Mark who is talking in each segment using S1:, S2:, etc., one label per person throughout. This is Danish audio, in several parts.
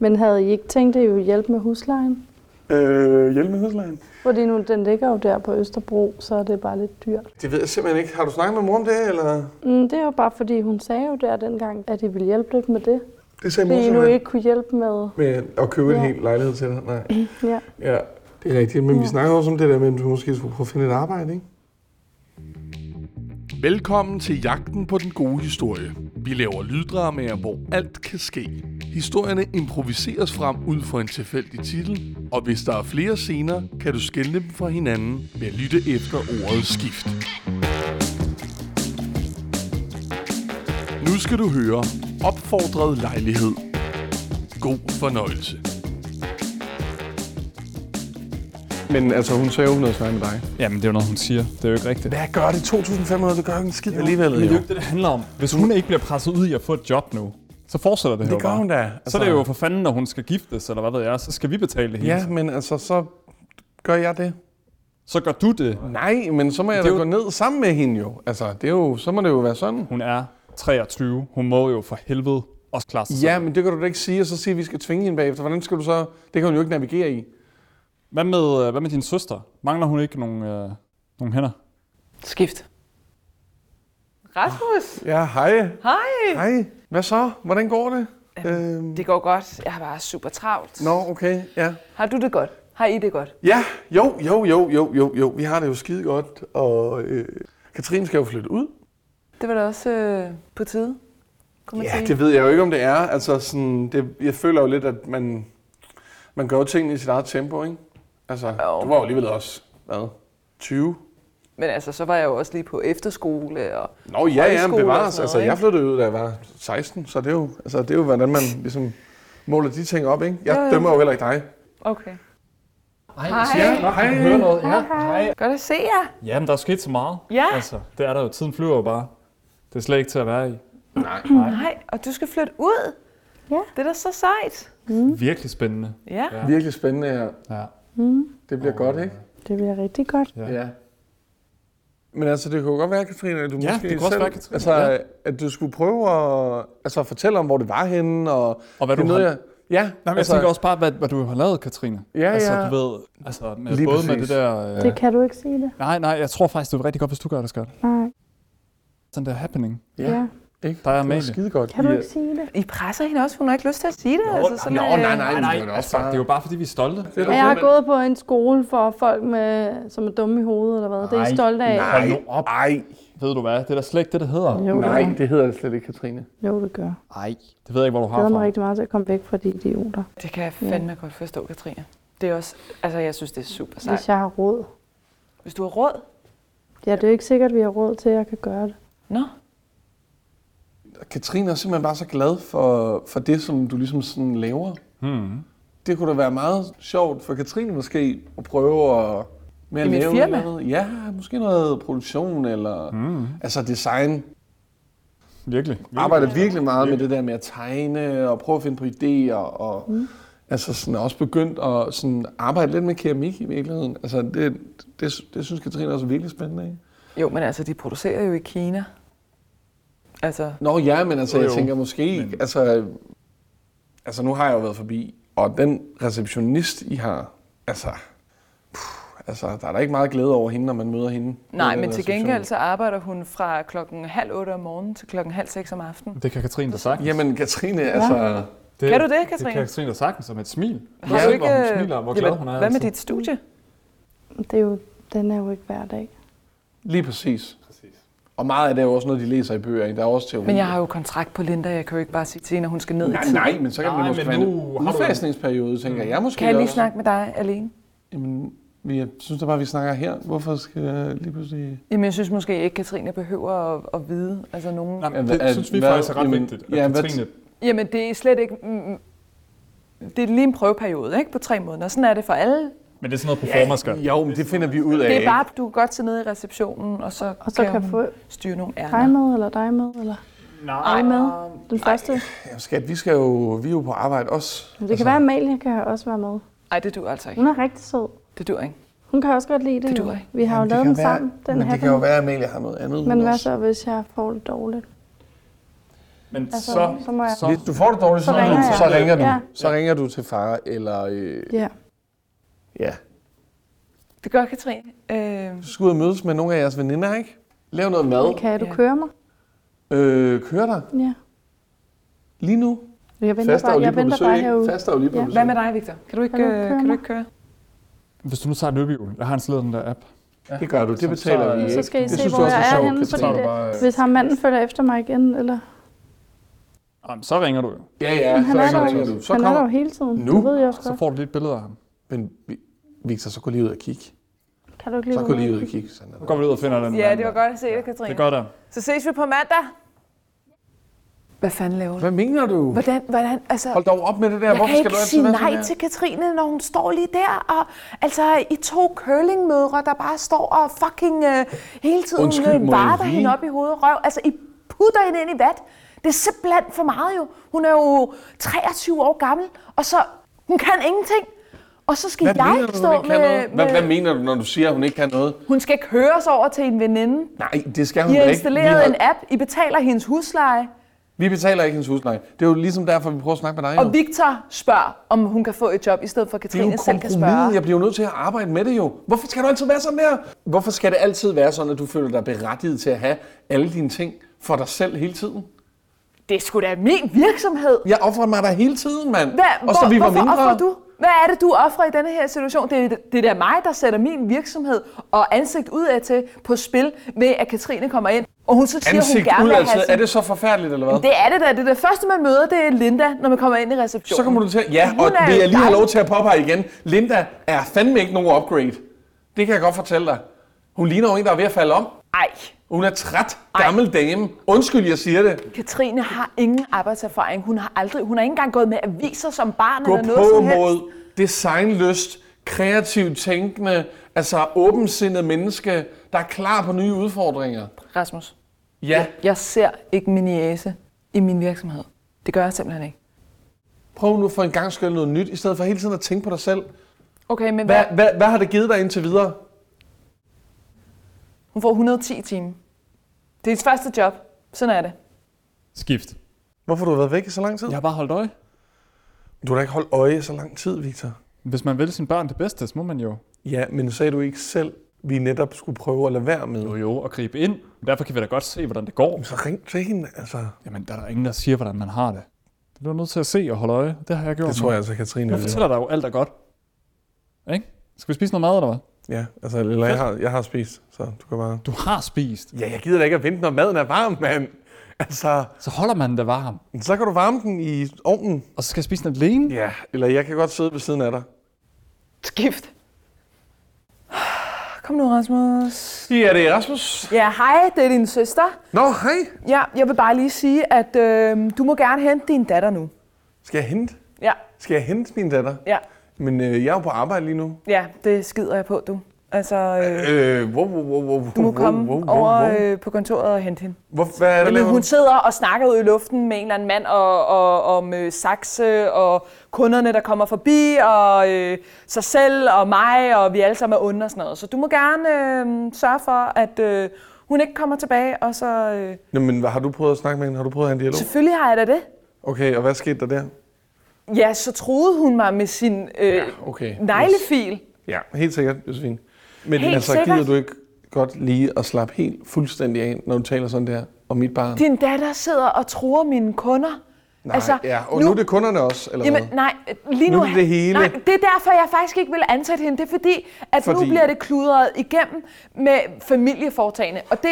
S1: Men havde I ikke tænkt, at I ville hjælpe med huslejen?
S2: Øh, hjælp med huslejen.
S1: Fordi nu, den ligger jo der på Østerbro, så er det bare lidt dyrt.
S3: Det ved jeg simpelthen ikke. Har du snakket med mor om det, eller?
S1: Mm, det er jo bare, fordi hun sagde jo der dengang, at I ville hjælpe lidt med det.
S3: Det sagde mor
S1: Fordi I nu
S3: simpelthen.
S1: ikke kunne hjælpe med...
S3: Med at købe ja. en
S1: Ja.
S3: hel lejlighed til dig. Nej.
S1: Ja.
S3: Ja, det er rigtigt. Men Mm. ja. vi
S1: Ja.
S3: snakker også om det der med, at du måske skulle prøve at finde et arbejde, ikke?
S4: Velkommen til Jagten på den gode historie. Vi laver lyddramaer, hvor alt kan ske. Historierne improviseres frem ud fra en tilfældig titel, og hvis der er flere scener, kan du skelne dem fra hinanden ved at lytte efter ordet skift. Nu skal du høre Opfordret lejlighed. God fornøjelse.
S3: Men altså, hun sagde jo, hun havde snakket med dig.
S5: Jamen, det er jo noget, hun siger. Det er jo ikke rigtigt.
S3: Hvad gør det? 2.500, det gør jo ikke en skid alligevel.
S5: Men det er jo
S3: Jo.
S5: ikke det, det handler om. Hvis hun ikke bliver presset ud i at få et job nu, så fortsætter det her
S3: Det
S5: jo
S3: gør
S5: bare.
S3: hun da. Altså,
S5: Så er det jo for fanden, når hun skal giftes, eller hvad ved jeg, så skal vi betale det hele.
S3: Ja, men altså, så gør jeg det.
S5: Så gør du det.
S3: Nej, men så må jeg
S5: Det
S3: da
S5: er
S3: jo...
S5: jo-
S3: gå ned sammen med hende jo. Altså, det er jo, så må det jo være sådan.
S5: Hun er 23. Hun må jo for helvede også klare sig selv.
S3: Ja, men det kan du da ikke sige, og så sige, at vi skal tvinge hende bagefter. Hvordan skal du så... Det kan hun jo ikke navigere i.
S5: Hvad med, øh, hvad med din søster? Mangler hun ikke nogle, øh, nogle hænder?
S6: Skift. Rasmus,
S3: Ja, hej.
S6: hej.
S3: Hej. Hvad så? Hvordan går det? Øhm,
S6: Det går godt. Jeg har bare super travlt.
S3: Nå, okay, ja.
S6: Har du det godt? Har I det godt?
S3: Ja, jo, jo, jo, jo, jo, jo. Vi har det jo skide godt, og øh, Katrine skal jo flytte ud.
S6: Det var da også øh, på tide, kunne man
S3: Ja,
S6: sige.
S3: det ved jeg jo ikke, om det er. Altså, sådan, det, jeg føler jo lidt, at man, man gør jo tingene i sit eget tempo, ikke? Altså, du var jo alligevel også, hvad, 20?
S6: Men altså, så var jeg jo også lige på efterskole, og
S3: Nå, ja, ja, men
S6: Højskole og
S3: bevares.
S6: sådan
S3: Altså,
S6: noget,
S3: jeg
S6: ikke?
S3: flyttede ud, da jeg var 16, så det er jo, altså, det er jo hvordan man ligesom måler de ting op, ikke? Jeg
S6: Jo, jo.
S3: dømmer jo heller ikke dig.
S6: okay.
S3: Ja,
S6: Hej,
S3: hej.
S5: noget. Ja. Hej.
S6: godt at se jer.
S5: Jamen, der er sket så meget.
S6: Ja.
S5: Altså, det er der jo. Tiden flyver jo bare. Det er slet ikke til at være i.
S6: Nej, og du skal flytte ud.
S1: Ja.
S6: Det er da så sejt.
S5: Virkelig spændende.
S6: Ja. ja.
S3: Virkelig spændende her.
S5: Ja.
S3: Det bliver godt, ikke?
S1: Det bliver rigtig godt.
S5: Ja.
S3: Ja. Men altså, det kunne godt være, Katrine, at du
S5: Ja,
S3: måske
S5: det kunne også
S3: selv,
S5: være, Katrine,
S3: altså,
S5: ja.
S3: at du skulle prøve at altså, fortælle om, hvor det var henne, og,
S5: Og hvad
S3: det er
S5: du
S3: noget,
S5: har-
S3: jeg, Ja, altså,
S5: Nej, men jeg tænker også bare, hvad, hvad du har lavet, Katrine.
S3: Ja,
S5: altså,
S3: ja.
S5: Du ved, altså, med,
S3: Lige
S5: både med
S3: præcis.
S5: det der... Øh,
S1: Det kan du ikke sige det.
S5: Nej, nej, jeg tror faktisk, det er rigtig godt, hvis du gør det, Skørt.
S1: Nej.
S5: Sådan der happening.
S3: Ja,
S1: Ja.
S3: ikke?
S5: Der er
S3: det var
S5: Amalie.
S3: skide godt.
S1: Kan du ikke sige det?
S6: I presser hende også. Hun har ikke lyst til at sige det. Nå, altså, sådan,
S3: Nå,
S6: øh,
S3: nej, nej, nej,
S5: Nej,
S3: det var
S5: altså,
S3: også
S5: det er
S3: bare...
S5: jo bare, fordi vi er stolte.
S3: Det er da
S1: Jeg har
S3: fedt,
S1: gået på en skole for folk, med, som er dumme i hovedet eller hvad. Det er I
S5: Ej,
S1: stolte af.
S3: Nej,
S5: Hold nu op.
S3: nej,
S5: Ved du hvad? Det er da slet ikke det, det hedder.
S1: Jo, det
S3: nej,
S1: gør.
S3: det hedder det slet ikke, Katrine.
S1: Jo, det gør.
S5: Nej, det ved jeg ikke, hvor du
S1: Jeg
S5: har
S1: glæder mig
S5: fra.
S1: rigtig meget til at komme væk fra de idioter.
S6: Det kan jeg fandme godt forstå, Katrine. Det er også, altså, jeg synes, det er super
S1: Hvis
S6: sejt.
S1: jeg har råd.
S6: Hvis du har råd.
S1: Ja, det er jo ikke sikkert, at vi har råd til, at jeg kan gøre det.
S6: Nå,
S3: Katrine er simpelthen bare så glad for, for det, som du ligesom sådan laver.
S5: Hmm.
S3: Det kunne da være meget sjovt for Katrine måske at prøve at... Med
S6: I mit firma?
S3: Noget. Ja, måske noget produktion eller... Mm. Altså design.
S5: Virkelig.
S3: arbejder virkelig meget med det der med at tegne og prøve at finde på idéer og
S6: Hmm.
S3: mm. altså sådan også begyndt at sådan arbejde lidt med keramik i virkeligheden. Altså det, det, det synes Katrine også er virkelig spændende. Ikke?
S6: Jo, men altså, de producerer jo i Kina. Altså,
S3: Nå ja, men altså jeg
S5: Jo, jo.
S3: tænker måske, men. altså altså nu har jeg jo været forbi og den receptionist I har, altså puh, altså der er da ikke meget glæde over hende når man møder hende.
S6: nej,
S3: Den
S6: men
S5: altså
S6: til gengæld
S3: reception.
S6: så arbejder hun fra klokken halv otte om morgenen til klokken halv seks om aftenen.
S5: Det kan Katrine da sagtens.
S3: Jamen Katrine, altså
S5: Det,
S6: Kan du det,
S5: Det
S6: Katrine?
S5: kan Katrine da sagtens, som et smil.
S6: Har
S5: Ja,
S6: du ikke... øh,
S5: Hvor hun smiler, og hvor glad
S6: Jamen,
S5: hun er. altså.
S6: Hvad med
S5: altid.
S6: dit studie?
S1: Det er jo, den er jo ikke hver dag.
S3: lige præcis. Og meget af det er jo også noget, de læser i bøger. Ikke? Der er også teori.
S6: Men jeg har jo kontrakt på Linda, jeg kan jo ikke bare sige til hende, at hun skal ned i
S3: Nej,
S6: tid.
S3: nej, men så kan
S5: Nej,
S3: det måske
S5: men
S3: være en
S5: nu har du-
S3: udfasningsperiode, tænker jeg måske
S6: Kan jeg lige
S3: også.
S6: snakke med dig alene?
S3: Jamen, vi, jeg synes da bare, vi snakker her. Hvorfor skal jeg lige pludselig...
S6: Jamen, jeg synes måske ikke, Katrine behøver at, at vide altså nogen...
S5: Nej, men
S3: Ja,
S5: det
S3: hvad-
S5: synes vi
S3: hvad-
S5: faktisk er ret
S3: jamen,
S5: vigtigt, at
S3: ja, hvad-
S5: Katrine
S6: Jamen, det er slet ikke... Mm, det er lige en prøveperiode, ikke? På tre måneder. Sådan er det for alle.
S5: Men det er sådan noget performer, Skørt.
S3: Jo, men det finder vi ud af.
S6: Det er bare, at du kan godt sidde nede i receptionen, og så,
S1: Og så kan jeg
S6: hun
S1: få
S6: styre nogle
S1: dig
S6: ærner.
S1: med, eller dig med, eller
S5: Nej.
S1: dig med. Den første.
S3: Ja, skat, vi skal jo, vi er jo på arbejde også.
S1: Men det kan være,
S3: Altså-
S1: at Amalie kan også være med.
S6: Nej, det dur altså ikke.
S1: Hun er rigtig sød.
S6: Det dur ikke.
S1: Hun kan også godt lide det.
S6: Det
S1: jo.
S6: duer ikke.
S1: Vi har jo
S3: Jamen, det
S1: lavet
S3: kan
S1: den
S3: være-
S1: sammen, den
S3: Men det kan jo
S1: her.
S3: være, at Amalie har noget andet.
S1: Men
S3: hun
S1: hvad
S3: også-
S1: så, hvis jeg får det dårligt?
S5: Men
S1: Altså,
S5: så,
S1: så må jeg-
S5: så,
S3: Hvis du får det dårligt, så,
S1: Så ringer jeg.
S3: så ringer du.
S1: Ja.
S3: Så ringer du til far, eller... Øh,
S1: Ja.
S3: ja.
S6: Det gør Katrine. Øh,
S3: Du skal ud og mødes med nogle af jeres veninder, ikke? Lav noget mad.
S1: Kan du
S6: Ja.
S1: køre mig?
S3: Øh, kør dig.
S1: Ja.
S3: Lige nu.
S1: Jeg venter
S3: Fast er jo
S1: bare,
S3: lige
S1: jeg
S3: på
S1: venter
S3: besøg,
S1: bare
S3: ikke?
S1: herude.
S3: Fast er jo lige på
S1: Ja.
S3: besøg.
S6: hvad med dig, Victor? Kan du ikke,
S1: Kan du
S6: øh,
S1: køre
S6: kan du
S1: mig?
S6: ikke køre?
S5: hvis du nu tager løbehjulet, jeg har en slid den der app.
S3: Det gør du, det betaler
S5: så-
S3: vi ikke.
S1: Så skal I
S3: Det
S1: se,
S3: synes
S1: hvor
S3: du også
S1: jeg
S3: er
S1: er
S3: sjovt,
S1: henne,
S3: Katrine.
S1: fordi det,
S5: Bare,
S1: hvis ham manden følger efter mig igen, eller...
S5: Jamen, så ringer du jo.
S3: Ja, ja,
S1: Men han
S3: så
S1: er
S3: ringer,
S1: der jo.
S3: ringer du. Så
S1: han er der
S3: kommer...
S1: jo hele tiden.
S3: Nu?
S1: Det ved jeg også
S5: Så
S1: godt.
S5: får du lige et billede af ham.
S3: Men Vi- Victor, så gå lige ud og kigge.
S1: Kan du ikke
S3: Så gå
S1: lide
S3: lige
S1: det?
S3: ud og kigge. Sådan er
S5: Så
S3: det.
S5: går vi ud og finder den.
S6: Ja,
S5: mand
S6: det var
S5: der.
S6: godt at se dig, Katrine.
S5: Det gør der.
S6: Så ses vi på mandag. Hvad fanden laver du?
S3: Hvad mener du?
S6: Hvordan, hvordan, altså,
S3: Hold dog op med det der.
S6: jeg
S3: Hvorfor
S6: kan
S3: skal
S6: ikke
S3: du altid
S6: sige
S3: være sådan
S6: nej
S3: her?
S6: til Katrine, når hun står lige der, og altså, I to curlingmødre, der bare står og fucking øh, hele tiden
S3: Undskyld,
S6: øh,
S3: må jeg
S6: varter
S3: lige-
S6: hende op i hovedet og røv. Altså, I putter hende ind i vat. Det er simpelthen for meget jo. Hun er jo 23 år gammel, og så, hun kan ingenting. Og så skal
S3: Hvad mener
S6: jeg
S3: du,
S6: stå
S3: hun ikke kan
S6: med,
S3: noget? Hvad, hvad
S6: med...
S3: mener du, når du siger, at hun ikke kan noget?
S6: Hun skal ikke høres over til en veninde.
S3: Nej, det skal hun
S6: I
S3: da
S6: har
S3: ikke. Vi,
S6: installeret en app, I betaler hendes husleje,
S3: vi betaler ikke hendes husleje. Det er jo ligesom derfor, vi prøver at snakke med dig. jo.
S6: og Victor spørger, om hun kan få et job, i stedet for at
S3: Det er jo
S6: Katrine selv kan
S3: kompromis.
S6: spørge.
S3: Jeg bliver jo nødt til at arbejde med det jo. Hvorfor skal du altid være sådan der? Hvorfor skal det altid være sådan, at du føler dig berettiget til at have alle dine ting for dig selv hele tiden?
S6: Det er sgu da min virksomhed.
S3: Jeg offrer mig dig hele tiden, mand.
S6: Hvad,
S3: Også da vi var
S6: hvorfor
S3: mindre.
S6: offrer du? Hvad er det, du offrer i denne her situation? Det er, det er da mig, der sætter min virksomhed og ansigt udad til på spil ved, at Katrine kommer ind, og hun så siger,
S3: Ansigt
S6: hun gerne
S3: ud,
S6: vil
S3: altså.
S6: have
S3: Er
S6: sin...
S3: det så forfærdeligt, eller hvad?
S6: Det er det da. Det, er det første, man møder, det er Linda, når man kommer ind i receptionen.
S3: Så kommer du til at... Ja,
S6: Hun
S3: og
S6: er
S3: vil
S6: jo
S3: jeg lige have
S6: dejlig.
S3: lov til at påpege igen. Linda er fandme ikke nogen upgrade. Det kan jeg godt fortælle dig. Hun ligner jo en, der er ved at falde om.
S6: Ej,
S3: Hun er træt, gammel dame. Undskyld, jeg siger det.
S6: Katrine har ingen arbejdserfaring. Hun har aldrig, hun har ikke engang gået med aviser som barn
S3: Gå
S6: eller noget
S3: på
S6: som helst.
S3: mod designlyst, kreativt tænkende, altså åbensindet menneske, der er klar på nye udfordringer.
S6: Rasmus,
S3: Ja,
S6: jeg ser ikke min jæse i min virksomhed. Det gør jeg simpelthen ikke.
S3: prøv nu for en gang skyld noget nyt, i stedet for hele tiden at tænke på dig selv.
S6: Okay, men
S3: Hvad,
S6: hvad?
S3: hvad, hvad har det givet dig indtil videre?
S6: hun får 110 timer. Det er hendes første job. Sådan er det.
S5: Skift.
S3: Hvorfor har du været væk i så lang tid?
S5: Jeg har bare holdt øje.
S3: Du har da ikke holdt øje i så lang tid, Victor.
S5: Hvis man vil sine børn det bedste, så må man jo
S3: Ja, men sagde du ikke selv, vi netop skulle prøve at lade være med?
S5: jo, jo og gribe ind. Derfor kan vi da godt se, hvordan det går.
S3: Så ring til hende, altså.
S5: Jamen, der er der ingen, der siger, hvordan man har det. Det bliver du nødt til at se og holde øje. Det har jeg gjort.
S2: Det tror jeg altså, Katrine
S5: Jeg
S2: vil.
S5: fortæller dig jo, alt er godt. Ikke? Skal vi spise noget mad, eller hvad?
S2: Ja, altså, eller jeg har, jeg har spist, så du kan bare...
S5: Du har spist.
S2: Ja, jeg gider da ikke at vente, når maden er varm, mand. Altså,
S5: Så holder man det varm.
S2: så kan du varme den i ovnen.
S5: Og så skal jeg spise den alene.
S2: Ja, eller jeg kan godt sidde ved siden af dig.
S6: Skift. Kom nu, Rasmus.
S3: Ja, det er Rasmus.
S6: Ja, hej, det er din søster.
S2: Nå, hej.
S6: Ja, jeg vil bare lige sige, at øh, du må gerne hente din datter nu.
S2: Skal jeg hente?
S6: Ja,
S2: Skal jeg hente min datter?
S6: ja,
S2: Men øh, jeg er jo på arbejde lige nu.
S6: ja, det skider jeg på, du. Altså, øh,
S2: Øh, wow, wow, wow, wow,
S6: du må
S2: wow,
S6: komme
S2: wow, wow,
S6: over
S2: wow.
S6: øh, på kontoret og hente hende.
S2: Hvor, hvad er det,
S6: Jamen,
S2: laver?
S6: hun sidder og snakker ud i luften med en eller anden mand og, og, om øh, sakse og kunderne, der kommer forbi, og øh, sig selv og mig, og vi alle sammen er onde og sådan noget. Så du må gerne øh, sørge for, at øh, hun ikke kommer tilbage, og så... Øh,
S2: Nå, men hvad har du prøvet at snakke med hende? Har du prøvet at have en dialog?
S6: selvfølgelig har jeg da det.
S2: Okay, og hvad skete der der?
S6: Ja, så troede hun mig med sin øh,
S2: Okay.
S6: neglefil.
S2: Ja, helt sikkert, Josefine. Men
S6: Helt
S2: altså,
S6: sikkert.
S2: gider du ikke godt lige at slappe helt fuldstændig af, når du taler sådan der om mit barn?
S6: Din datter sidder og tror mine kunder.
S2: Nej, ja. Og nu, nu er det kunderne også, eller
S6: altså, Jamen,
S2: hvad?
S6: nej, lige nu...
S2: Nu er det det hele.
S6: Nej, det er derfor, jeg faktisk ikke vil ansætte hende. Det er fordi, at fordi... nu
S2: Fordi-
S6: bliver det kludret igennem med familieforetagende. Og det,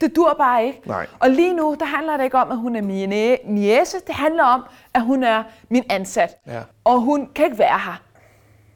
S6: det dur bare ikke.
S2: Nej.
S6: Og lige nu, der handler det ikke om, at hun er min niese. Det handler om, at hun er min ansat.
S2: Ja.
S6: Og hun kan ikke være her.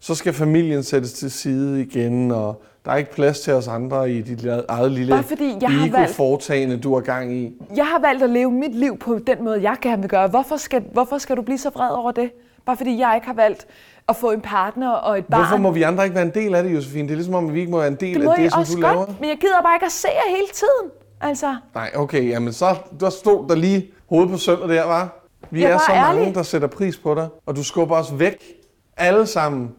S2: Så skal familien sættes til side igen, og der er ikke plads til os andre i dit la- eget lille
S6: Bare fordi jeg har valgt-
S2: ego-foretagende, du har gang i.
S6: Jeg har valgt at leve mit liv på den måde, jeg gerne vil gøre. Hvorfor skal, hvorfor skal du blive så vred over det? Bare fordi jeg ikke har valgt at få en partner og et barn.
S2: Hvorfor må vi andre ikke være en del af det, Josefine? Det er ligesom om, at vi ikke må være en del
S6: det må
S2: af
S6: I
S2: det, som
S6: også
S2: du
S6: godt,
S2: laver.
S6: men jeg gider bare ikke at se jer hele tiden. Altså,
S2: Nej, okay, jamen så der stod der lige hovedet på sømmet der, var. Vi
S6: Jeg
S2: er
S6: var
S2: så
S6: ærlig.
S2: mange, der sætter pris på dig, og du skubber os væk. Alle sammen.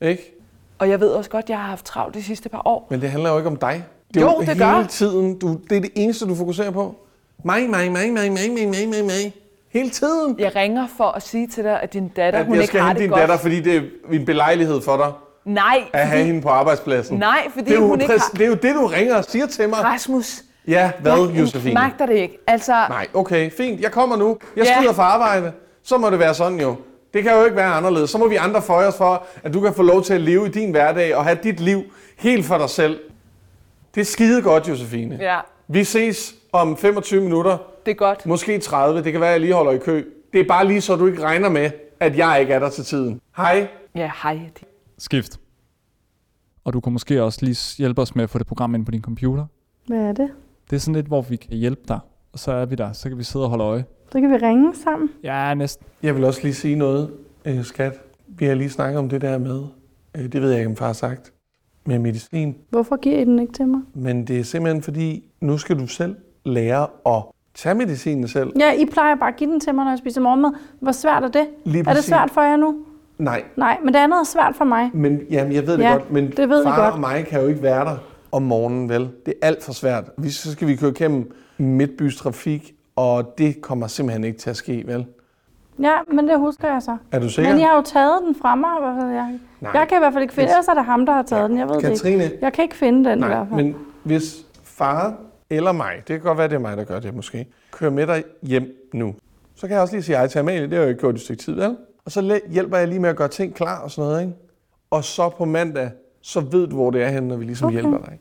S2: Ikke?
S6: og jeg ved også godt, at jeg har haft travlt de sidste par år.
S2: Men det handler jo ikke om dig. Det er
S6: Jo,
S2: jo,
S6: det
S2: hele
S6: gør.
S2: tiden. Du, det er det eneste, du fokuserer på.
S3: Mig, mig, mig, mig, mig, mig, mig, mig, mig. Hele tiden.
S6: Jeg ringer for at sige til dig, at din datter,
S3: At
S6: hun
S3: jeg
S6: ikke
S3: skal
S6: har
S3: hente
S6: det
S3: din
S6: godt.
S3: datter, fordi det er en belejlighed for dig
S6: Nej,
S3: at have
S6: fordi,
S3: hende på arbejdspladsen.
S6: nej, fordi
S3: det er, jo,
S6: hun ikke
S3: præcis-
S6: har...
S3: det er jo det, du ringer og siger til mig.
S6: Rasmus,
S3: Ja, hvad,
S6: jeg
S3: Josefine?
S6: magter det ikke. Altså,
S3: Nej, okay, fint. Jeg kommer nu. Jeg
S6: Ja.
S3: skrider fra arbejde. Så må det være sådan jo. Det kan jo ikke være anderledes. Så må vi andre føje os for, at du kan få lov til at leve i din hverdag og have dit liv helt for dig selv. Det er skide godt, Josefine.
S6: ja,
S3: Vi ses om 25 minutter,
S6: det er godt.
S3: måske 30. Det kan være, at jeg lige holder i kø. Det er bare lige så, du ikke regner med, at jeg ikke er der til tiden. Hej.
S6: Ja, hej.
S5: Skift. Og du kan måske også lige hjælpe os med at få det program ind på din computer.
S1: Hvad er det?
S5: Det er sådan lidt, hvor vi kan hjælpe dig. Og så er vi der. Så kan vi sidde og holde øje.
S1: Så kan vi ringe sammen.
S5: Ja, næsten.
S3: Jeg vil også lige sige noget, øh, skat. Vi har lige snakket om det der med, øh, det ved jeg ikke, om far har sagt, med medicin.
S1: Hvorfor giver I den ikke til mig?
S3: Men det er simpelthen fordi, nu skal du selv lære at tage medicinen selv.
S1: Ja, I plejer bare at give den til mig, når jeg spiser morgenmad. Hvor svært er det?
S3: Lige
S1: Er det
S3: præcis.
S1: svært for jer nu?
S3: Nej,
S1: Nej, men det andet er svært for mig.
S3: men jamen, jeg ved det
S1: Ja,
S3: godt, men
S1: det ved jeg
S3: far
S1: godt.
S3: og mig kan jo ikke være der om morgenen, vel? Det er alt for svært. Vi, så skal vi køre igennem midtbys trafik, og det kommer simpelthen ikke til at ske, vel?
S1: Ja, men det husker jeg så.
S3: Er du sikker?
S1: Men I har jo taget den fra mig. Hvad ved jeg?
S3: Nej.
S1: jeg kan i hvert fald ikke finde, ellers er det ham, der har taget den. Jeg ved det ikke.
S3: Katrine,
S1: Jeg kan ikke finde den i
S3: nej,
S1: hvert fald.
S3: men hvis far eller mig, det kan godt være, det er mig, der gør det måske, kører med dig hjem nu, så kan jeg også lige sige hej til Amalie, det har jeg jo ikke gjort i et stykke tid, vel? Og så læ- hjælper jeg lige med at gøre ting klar og sådan noget, ikke? Og så på mandag, så ved du, hvor det er henne, når vi ligesom okay. hjælper dig.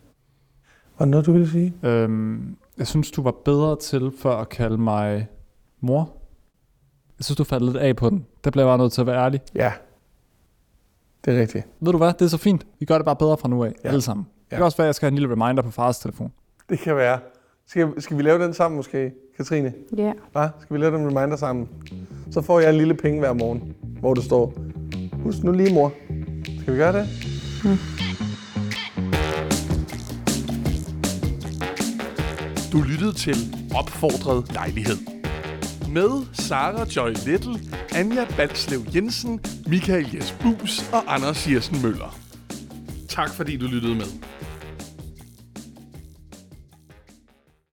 S3: Og noget, du vil sige?
S5: Øhm, jeg synes, du var bedre til før at kalde mig mor. Jeg synes, du faldt lidt af på den. Der blev jeg bare nødt til at være ærlig.
S3: Ja, det er rigtigt.
S5: Ved du hvad? Det er så fint. Vi gør det bare bedre fra nu af. Ja.
S3: Ja.
S5: Alle sammen. Ja.
S3: Ja.
S5: Det kan også være, at jeg skal have en lille reminder på fars telefon.
S3: Det kan være. Skal, skal vi lave den sammen måske, Katrine?
S1: Ja.
S3: Hva? Skal vi lave den reminder sammen? Så får jeg en lille penge hver morgen, hvor det står, husk nu lige mor. Skal vi gøre det?
S4: Du lyttede til Opfordret Lejlighed. Med Sara Joy Little, Anja Balslev Jensen, Michael Jes Bus og Anders Jersen Møller. Tak fordi du lyttede med.